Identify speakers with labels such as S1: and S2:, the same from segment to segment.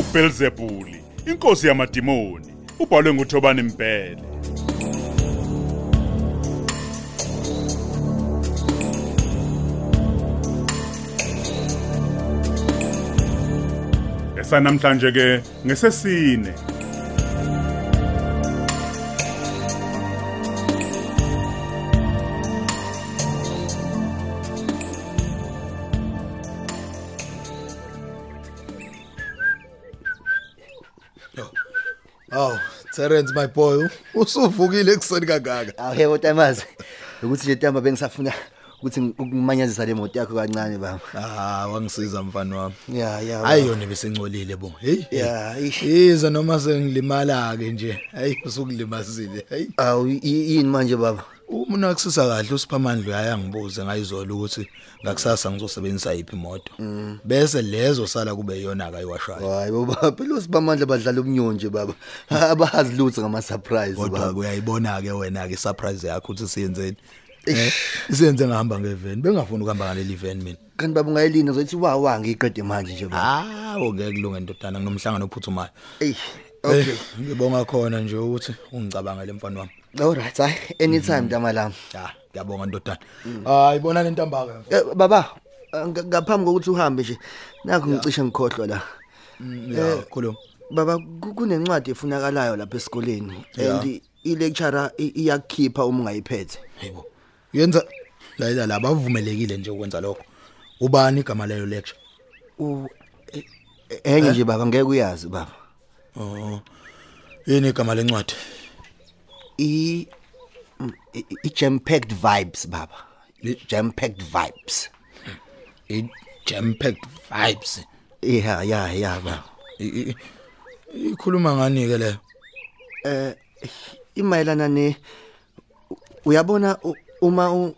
S1: uBelzebuli, inkosi yamadimoni, ubhalwe nguThobani Mpele. Esanamhlanje ke ngesesine
S2: Aw, Oh, Terence my boy, usuvukile ekuseni kangaka.
S3: awuye kotamazi ukuthi nje ntamba bengisafuna ukuthi ukumanyazisa le moto yakho kancane baba
S2: Ah, wangisiza mfana wami.
S3: ya ya baba.
S2: Hayi yona besincolile bo. Hey.
S3: Ya, ish.
S2: Iza noma sengilimala ke nje. Hayi usukulimazile. Hey.
S3: awu i- yini manje baba
S2: Umuna kusisa kahle usiphamandlu yaya ngibuze ngayizola ukuthi ngakusasa ngizosebenzisa yipi imoto. Bese lezo sala kube yona akayiwashayo.
S3: hayi baba phela usibamandla badlala umnyonje baba abahazi lutho ngama-surprise
S2: Kodwa
S3: baba
S2: uyayibona ke wena ke surprise yakho ukuthi siyenzeni. Eh, Isiyenze ngahamba ngeven. Bengafuna ukuhamba ngaleli van mina.
S3: kanti baba ungayilinda zothi wawa ngiyiqede manje nje baba
S2: Hawo ngeke kulunge ndodana nginomhlangano ophuthumayo.
S3: eyi
S2: Okay,
S3: okay
S2: ngibonga khona nje ukuthi ungicabangele mfana wami.
S3: allright hayi anytime ntama lami
S2: Ah, ngiyabonga ndodana. Hayi bona lentamba ke.
S3: Mm. Eh, baba eh, nga- ngaphambi kokuthi uhambe nje nakho ngicishe ngikhohlwa la
S2: Yeah, khuluma.
S3: baba ku- kunencwadi efunakalayo lapha esikoleni and i-lecturer i- iyakukhipha uma ungayiphethe
S2: Yebo. Yenza layila la bavumelekile nje ukwenza lokho. Ubani igama leyo lecture?
S3: U- e- e- enye nje baba ngeke uyazi baba
S2: Oh. Yini igama lencwadi?
S3: i mm, i- i- i-jam packed vibes baba
S2: Ye-
S3: jam packed vibes
S2: I jam packed vibes.
S3: yeah yeah yeah baba
S2: I- i- Ikhuluma ngani ke le?
S3: eh imayelana ne uyabona u- uma u-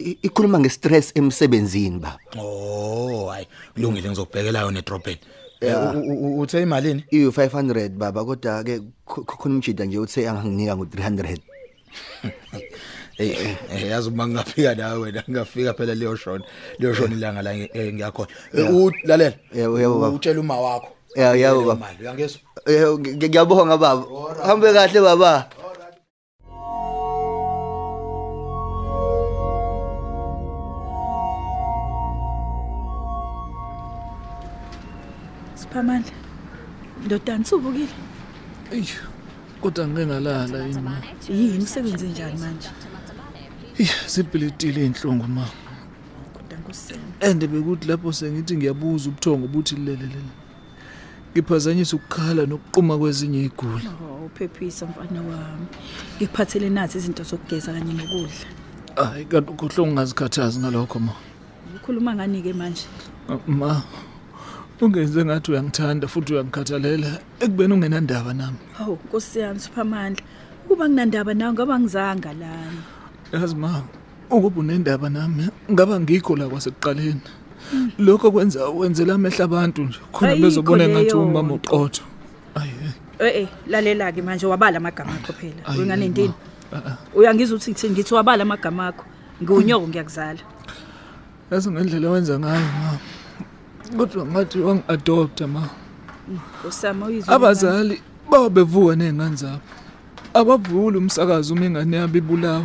S3: i- ikhuluma ngestress emsebenzini baba
S2: Oh, hayi, kulungile ngizokubhekela yona edrobheni. Eh, u- u- u- uthe imalini?
S3: iyu 500 baba kodwa ke khona umjida nje uthe anganginika ngo 300
S2: Hey, eh, eh, yazi uma ngingafika nawe wena ngingafika phela leyo shona leyo shona ilanga la ngi- eh, ngiyakhona Eh, ulalela
S3: Yebo, yebo, baba.
S2: utshela uma wakho
S3: Yeah, yebo, baba.
S2: Imali, uyangizwa
S3: Eh, ngi- ngi- ngiyabonga baba hambe kahle baba
S4: Siphamandla. Ndodana suvukile.
S5: Eish. Kodwa ngeke ngalala yini. ma.
S4: Yini umsebenzi njani manje?
S5: Eish, sibhilitile inhlungu ma.
S4: Kodwa nkosini.
S5: And bekuthi lapho sengithi ngiyabuza ubuthongo ubuthi lelelele. Ngiphazanyisa ukukhala nokuquma kwezinye igulu.
S4: Oh, uphephisa mfana wami. Ngikuphathele nathi izinto zokugeza kanye nokudla.
S5: Hayi kanti ukhohle ungazikhathazi ngalokho ma.
S4: Ukhuluma ngani ke manje?
S5: Ma. Ungenze ngathi uyangithanda futhi uyangikhathalela ekubeni ungenandaba nami.
S4: Hawu nkosi yami Siphamandla. Kuba nginandaba nawe ngoba ngizanga lana.
S5: Yazi ma, ukuba unendaba nami ngaba ngikho la kwasekuqaleni. Lokho kwenza wenzela amehla abantu nje khona
S4: Ayikho
S5: bezobona ngathi
S4: leyo
S5: umama
S4: nto.
S5: uqotho. Ayi.
S4: Eh eh lalela ke manje wabala amagama akho phela.
S5: Ayi,
S4: Unganendini?
S5: ma. Ah, ah.
S4: Uyangizwa uthi ngithini ngithi wabala amagama akho. Ngiwunyoko ngiyakuzala.
S5: yazi ngendlela wenza ngayo ma kodwa ngathi wangi-adopta ma
S4: Nkosama uyizwa.
S5: abazali babevuka ney'ngane zabo abavuli umsakazi uma ingane yabo ibulawa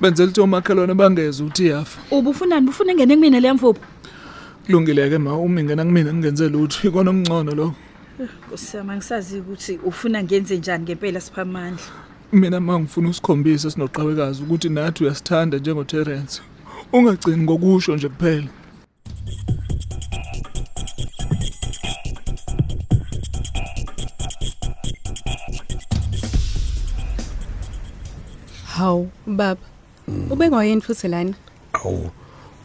S5: benzela ukuthi omakhelwane bangeze ukuthi iyafa
S4: Ubufunani bufuna ngene kumina leya mvubu.
S5: kulungile-ke ma uma ingena kumina ngingenze lutho ikona okungcono lokho
S4: Nkosi yami angisazi ukuthi ufuna ngenze njani ngempela siphamandla.
S5: mina ma ngifuna usikhombisa sinoqawekazi ukuthi nathi uyasithanda njengoterence ungagcini ngokusho nje kuphela
S6: Hawu baba. Ube ngoyini futhi lana?
S7: awu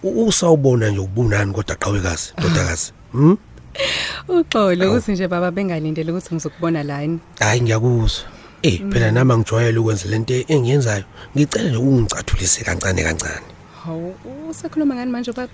S7: u- usawubona nje ubunani kodwa qhawekazi ndodakazi hm
S6: Uxolo ukuthi nje baba bengalindele ukuthi ngizokubona lana.
S7: hayi ngiyakuzwa eh phela nami angijwayele ukwenza lento engiyenzayo ngicela nje ungicathulise kancane kancane
S6: Hawu usekhuluma ngani manje baba?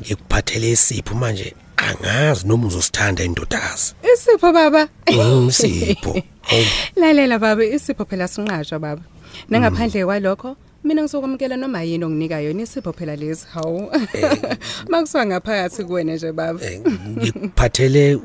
S7: ngikuphathele isipho manje angazi noma uzosithanda indodakazi
S6: Isipho baba.
S7: Mm, sipho Hawu,
S6: Lalela baba isipho phela sinqajwa baba. Nangaphandle kwalokho mina ngizokwamukela noma yini onginika yona isipho phela lezi. Hawu. Makuswa ngaphakathi kuwena nje baba.
S7: eh, ngikuphathele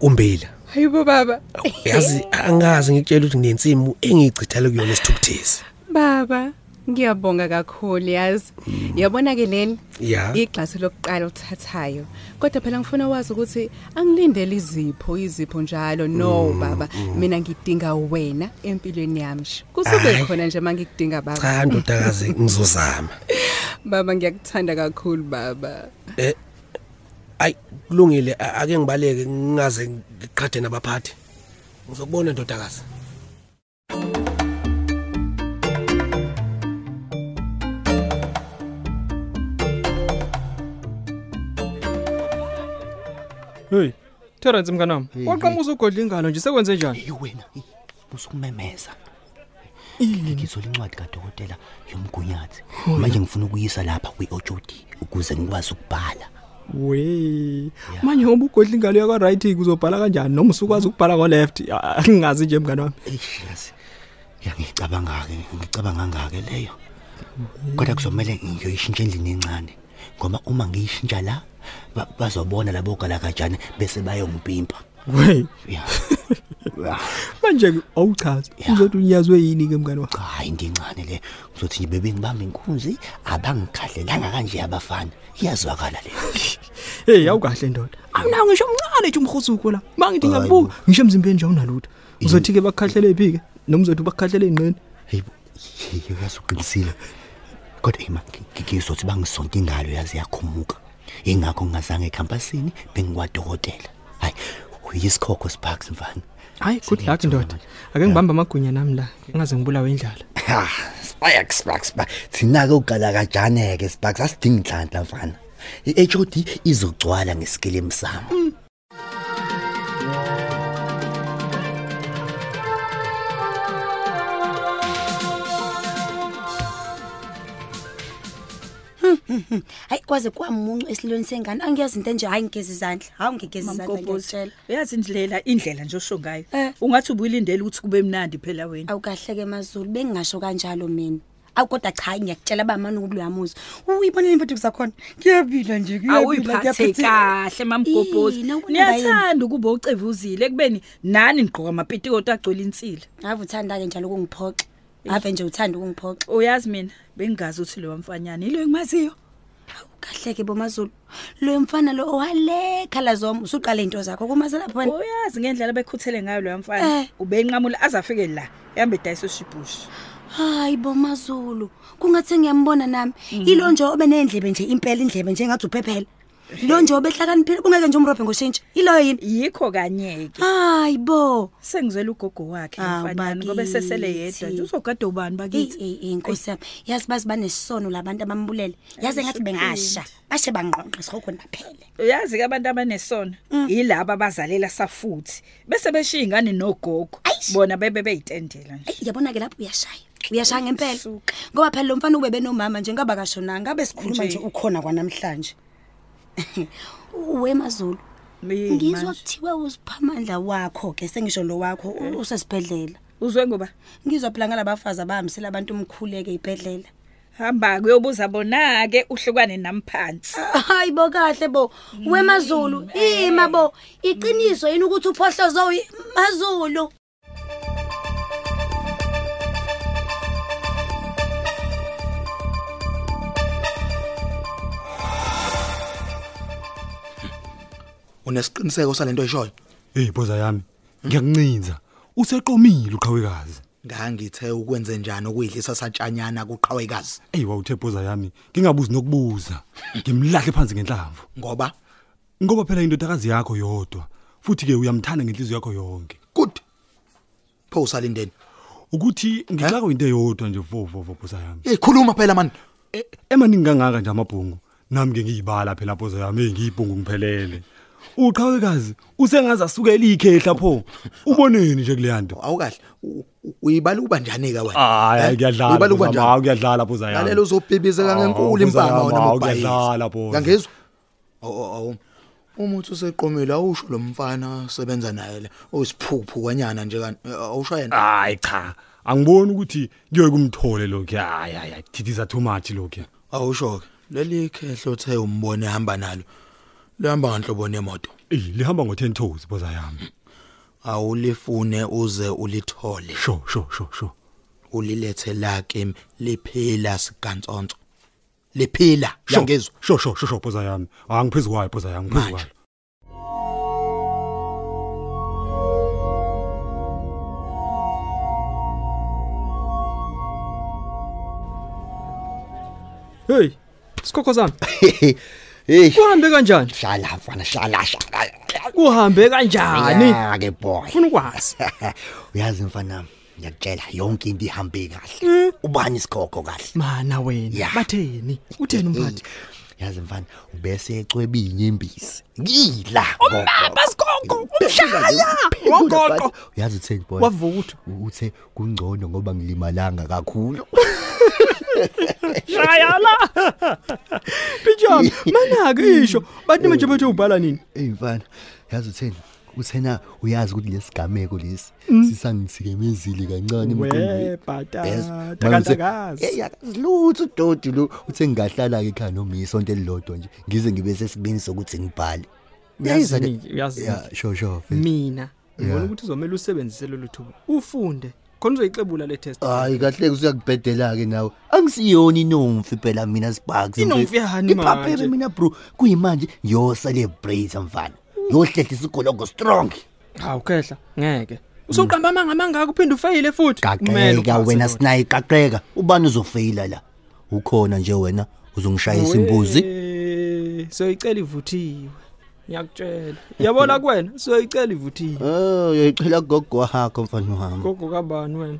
S7: umbila
S6: hayibo baba
S7: yazi angazi ngikutshela ukuthi nginensimu engiyichithele kuyona isithukuthezi
S6: baba ngiyabonga kakhulu yazi
S8: Mm.
S6: yabona ke leli
S7: Ya.
S6: igxasi lokuqala othathayo kodwa phela ngifuna wazi ukuthi angilindele izipho izipho njalo no
S8: Mm,
S6: baba mina ngidinga wena empilweni yami sh.
S7: Hhayi.
S6: kusube khona nje mangikudinga baba
S7: cha ndodakazi ngizozama
S6: baba ngiyakuthanda kakhulu baba
S7: ayi Eh, kulungile a- ake ngibaleke ngingaze ngiqhathe nabaphathi ngizokubona ndodakazi
S9: heyi terence mnganami waqama uzogodla ingalo nje sekwenze njani
S3: eyi wena eyi, usukumemeza ilingizo lencwadi kadokotela yomgunyathi manje ngifuna ukuyisa lapha kwi-otod ukuze ngikwazi ukubhala
S9: we manje ngoba ugodla ingalo yakwa-right uzobhala kanjani noma usukwazi ukubhala ko-left Ah, ngingazi nje mngani wami
S3: eish yazi yangiyicabanga-ke ngicabanga-ke leyo kodwa kuzomele ngiyoyishintsha endlini encane ngoba uma ngiyishintsha la ba- bazobona labogalakajane bese bayongipimpa
S9: we
S3: ya
S9: manje-ke awuchazi
S3: Ya.
S9: uzothi unyazwe yini-ke mngani wami
S3: cha hayi into encane le ngizothi nje bebengibamba inkunzi abangikhadlelanga kanje abafana iyazwakala leyo
S9: heyi awukahle ndoda amna ngisho mncane nje umrhusuko la ma ngithi ngiyabuka ngisho emzimbeni nje awunalutho uzothi-ke bakukhahlele phi-ke noma uzothi bakukhahlele ey'nqeni
S3: heyi yazi uqinisile kodwa ima ngizothi bangisonta ingalo yazi yakhumuka yingakho ngingazange ekhampasini bengikwadokotela hhayi uyisikhokho sparks mfana
S9: hhayi good luck ndoda ake ngibambe amagwinya nami la ngingaze ngibulawe indlala
S3: ha spark spark spark thina-ke ugalakajane-ke sparks asidingi nhlanhla mfana i-h o d izogcwala ngesikile emsamo
S2: Mm,
S10: hayi kwaze kwamuncu esilweni sengane angiyazi into enje hayi ngigeza izandla hawu ngigeza izandla
S4: Mamgobhozi
S10: ngiyakutshela
S4: uyazi indlela indlela nje osho ngayo
S10: Eh.
S4: ungathi ubuyilindele ukuthi kube mnandi phela wena
S10: awukahleke mazulu bengingasho kanjalo mina awu kodwa cha hayi ngiyakutshela uba mani ukuthi uyamuza uyibonele impeduko zakhona ngiyabila nje
S4: awuyiphathe kahle mamgobhozi
S10: Ih, nakubona
S4: niyathanda ukuba ucevuzile ekubeni nani nigqoka amapitikoti agcwele insila
S10: ave uthanda-ke njalo ukungiphoxa ave nje uthanda ukungiphoxa
S4: uyazi mina bengingazi ukuthi lowa mfanyana yilo engimaziyo
S10: kahleke bomazulu loyo mfana lo owalekhalazoma usuqale into zakho kumazelapho wena
S4: uyazi ngendlela bekhuthele ngayo loya mfana
S10: Eh.
S4: ubenqamula aze afike la ehambe edayisa ushibhushi
S10: hayi bomazulu kungathi ngiyambona nami
S4: Mhm.
S10: yilo nje obe neendlebe nje impela indlebe nje ngathi uphephela lo nje obehlakaniphile kungeke nje umrobhe ngoshintsha yiloyo yini
S4: yikho kanye-ke
S10: hayi bo
S4: sengizwela ugogo wakhe
S10: Awu,
S4: mfanyana ngoba esesele
S10: bakithi.
S4: yedwa nje uzogada ubani bakithi
S10: eyi inkosi yami yazi bazi banesono labantu abambulele yaze ngathi bengasha bashe bangqonqe sihokweni baphele
S4: uyazi-ke abantu abanesona
S6: Mm.
S4: yilaba abazalela safuthi bese beshiya ingane nogogo
S10: Ayish.
S4: bona bebe beyitendela nje
S10: eyi yabona-ke lapho uyashaya uyashaya ngempela ngoba phela lo mfana ube benomama nje ngaba kashonanga ngabe sikhuluma nje
S4: Nje.
S10: ukhona kwanamhlanje wemazulu
S4: Yey,
S10: ngizwa
S4: manje.
S10: kuthiwe uziphamandla wakho-ke sengisho lo wakho u- usesibhedlela
S4: uzwe ngoba
S10: ngizwa phela ngalabafazi abahambisela abantu umkhuleke ibhedlela
S4: hamba kuyobuza bona-ke uhlukane nami phansi
S6: Ah,
S10: hayi bo kahle bo wemazulu ima bo iqiniso yini ukuthi uphohlozo uyi- mazulu
S2: unesiqiniseko salento eshoyo
S8: eyi boza yami ngiyakuncinza useqomile uqhawekazi
S2: ngangithe ukwenze njani ukuyidlisa satshanyana kuqhawekazi
S8: eyi wawuthe boza yami ngingabuzi nokubuza ngimlahle phansi ngenhlamvu
S2: ngoba
S8: ngoba phela indodakazi yakho yodwa futhi-ke uyamthanda ngenhliziyo yakho yonke
S2: good pho usalindeni
S8: ukuthi ngixako into eyodwa nje vovovo boza yami
S2: eyikhuluma phela mani
S8: E- emaningi kangaka nje amabhungu nami-ke ngiyibala phela boza yami eyi ngiyibhungu ngiphelele uqhawekazi usengaze asukela ikhehla pho uboneni nje kuleya nto
S2: awukahle u- u- uyibala ukuba njani-ke wena
S8: hayi
S2: Eh?
S8: hayi
S2: uyibala ukuba
S8: kuyadlala
S2: njani
S8: kuyadlala boza yami Ah,
S2: lalela uzobhibhizeka ngenkulu impama wena
S8: kuyadlala boza
S2: ngangizwa awu awu umuthi useqomile awusho lo mfana asebenza naye le uyisiphuphu kwanyana nje kani Eh, awusho yena
S3: Ah.
S8: hayi cha angiboni ukuthi kuyoye kumthole lokhu hayi hayi hayi, thithiza too much lokhu
S2: awusho-ke leli khehlo othe umbone ehamba nalo lihamba nganhlobo nemoto
S8: eyi lihamba ngo-10 toes boza yami
S2: awulifune uze ulithole
S8: sho sho sho sho
S2: ulilethe la kimi liphila sikantsonso liphila
S8: Sho,
S2: yangezwe
S8: sho sho sho sho boza yami angiphezu kwayo boza yami ngiphezu kwayo
S9: hey sikhokho sami
S3: hey
S9: kuhambe kanjani
S3: hlala mfana hlala hlala
S9: kuhambe kanjani
S3: Ah, ke boy
S9: ufuna ukwazi
S3: uyazi mfana ngiyakutshela yonke into ihambe kahle ubani isikhokho kahle
S9: mana wena batheni utheni umphathi
S3: yazi mfana ubese ecweba inyembisi ngila
S9: Ubaba sikhokho, umshaya, wogogo.
S3: uyazi utheni boy
S9: Wavutha.
S3: uthe kungcono ngoba ngilimalanga kakhulu
S9: shaya la pijama manake isho bantu manje bethu ubhala nini
S3: eyi mfana yazi utheni uthena uyazi ukuthi lesigameko lesi
S9: Mm.
S3: sisangithikamezile kancane
S9: we
S3: emqondweni. Yes.
S9: bhatata
S3: Manje
S9: kanti
S3: uthe,
S9: akazi
S3: "Eyi, akazi lutho udodi lo uthe ngingahlala-ke ekhaya nomi isonto elilodwa nje ngize ngibe sesibini sokuthi ngibhale
S9: Uyazi
S3: Yayi,
S9: mina, uyazi
S3: ya,
S9: mina.
S3: sho sho mfethu.
S9: mina ngibona
S3: Yeah.
S9: ukuthi uzomela usebenzise lolu thuba ufunde khona uzoyixebula le test
S3: hayi kahle usuyakubhedela-ke nawe angisiyona inomfi phela mina sibaks
S9: Inomfi yani manje?
S3: ipapere mina bro kuyimanje ngiyoselebrate mfana ngiyohlehlisa igologo strong
S9: hawu kehla ngeke usoqamba amanga amangaka uphinde ufeyile futhi Kumele
S3: qaqeka
S9: upase
S3: wena
S9: lona.
S3: sinaye qaqeka ubani uzofeyila la ukhona nje wena uzongishayisa imbuzi
S9: Eh, siyoyicela ivuthiwe ngiyakutshela yabona kuwena siyoyicela ivuthiwe
S3: Oh, uyoyicela gogo wakho mfana wami
S9: gogo kabani wena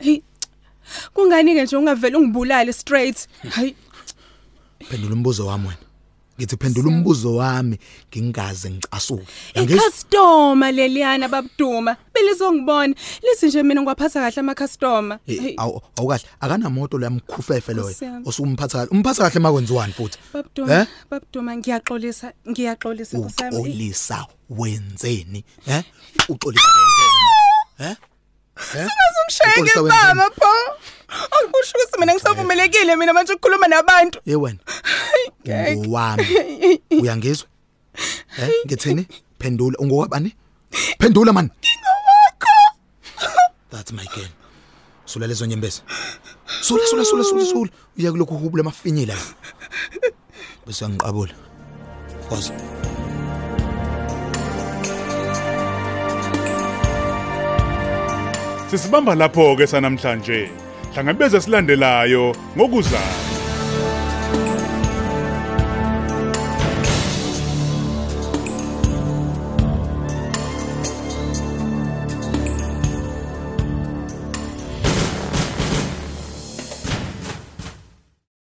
S6: Hey. Kungani ke nje ungavela ungibulale straight? Hayi,
S2: phendula umbuzo wami wena ngithi phendula umbuzo wami ngingaze ngicasuke yangezwe
S6: icustomer leliyana babuduma belizongibona. Lithi nje mina ngwaphatha kahle ama customer.
S2: Eh, awu- awukahle akanamoto leyamkhufefe loyo
S6: Nkosi yami.
S2: usumphatha kahle umphatha kahle makwenziwani futhi
S6: Babuduma, babuduma ngiyaxolisa, ngiyaxolisa nkosami.
S2: uxolisa wenzeni eh uxolisa wenzeni eh Eh?
S6: Sizongishayeka
S2: Uxolisa wenzeni?
S6: ibama pho. Angikusho ukuthi mina ngisavumelekile mina manje ukukhuluma nabantu.
S2: ye wena
S6: Ngeke.
S2: ngowami uyangizwa eh ngithini phendula ungokwabani phendula man that's my game sula lezo nyembezi sula sula sula sula sula uya kulokhu hubula amafinyila bese uyangiqabula kwazi
S1: sisibamba lapho-ke sanamhlanje hlangabeze silandelayo ngokuzayo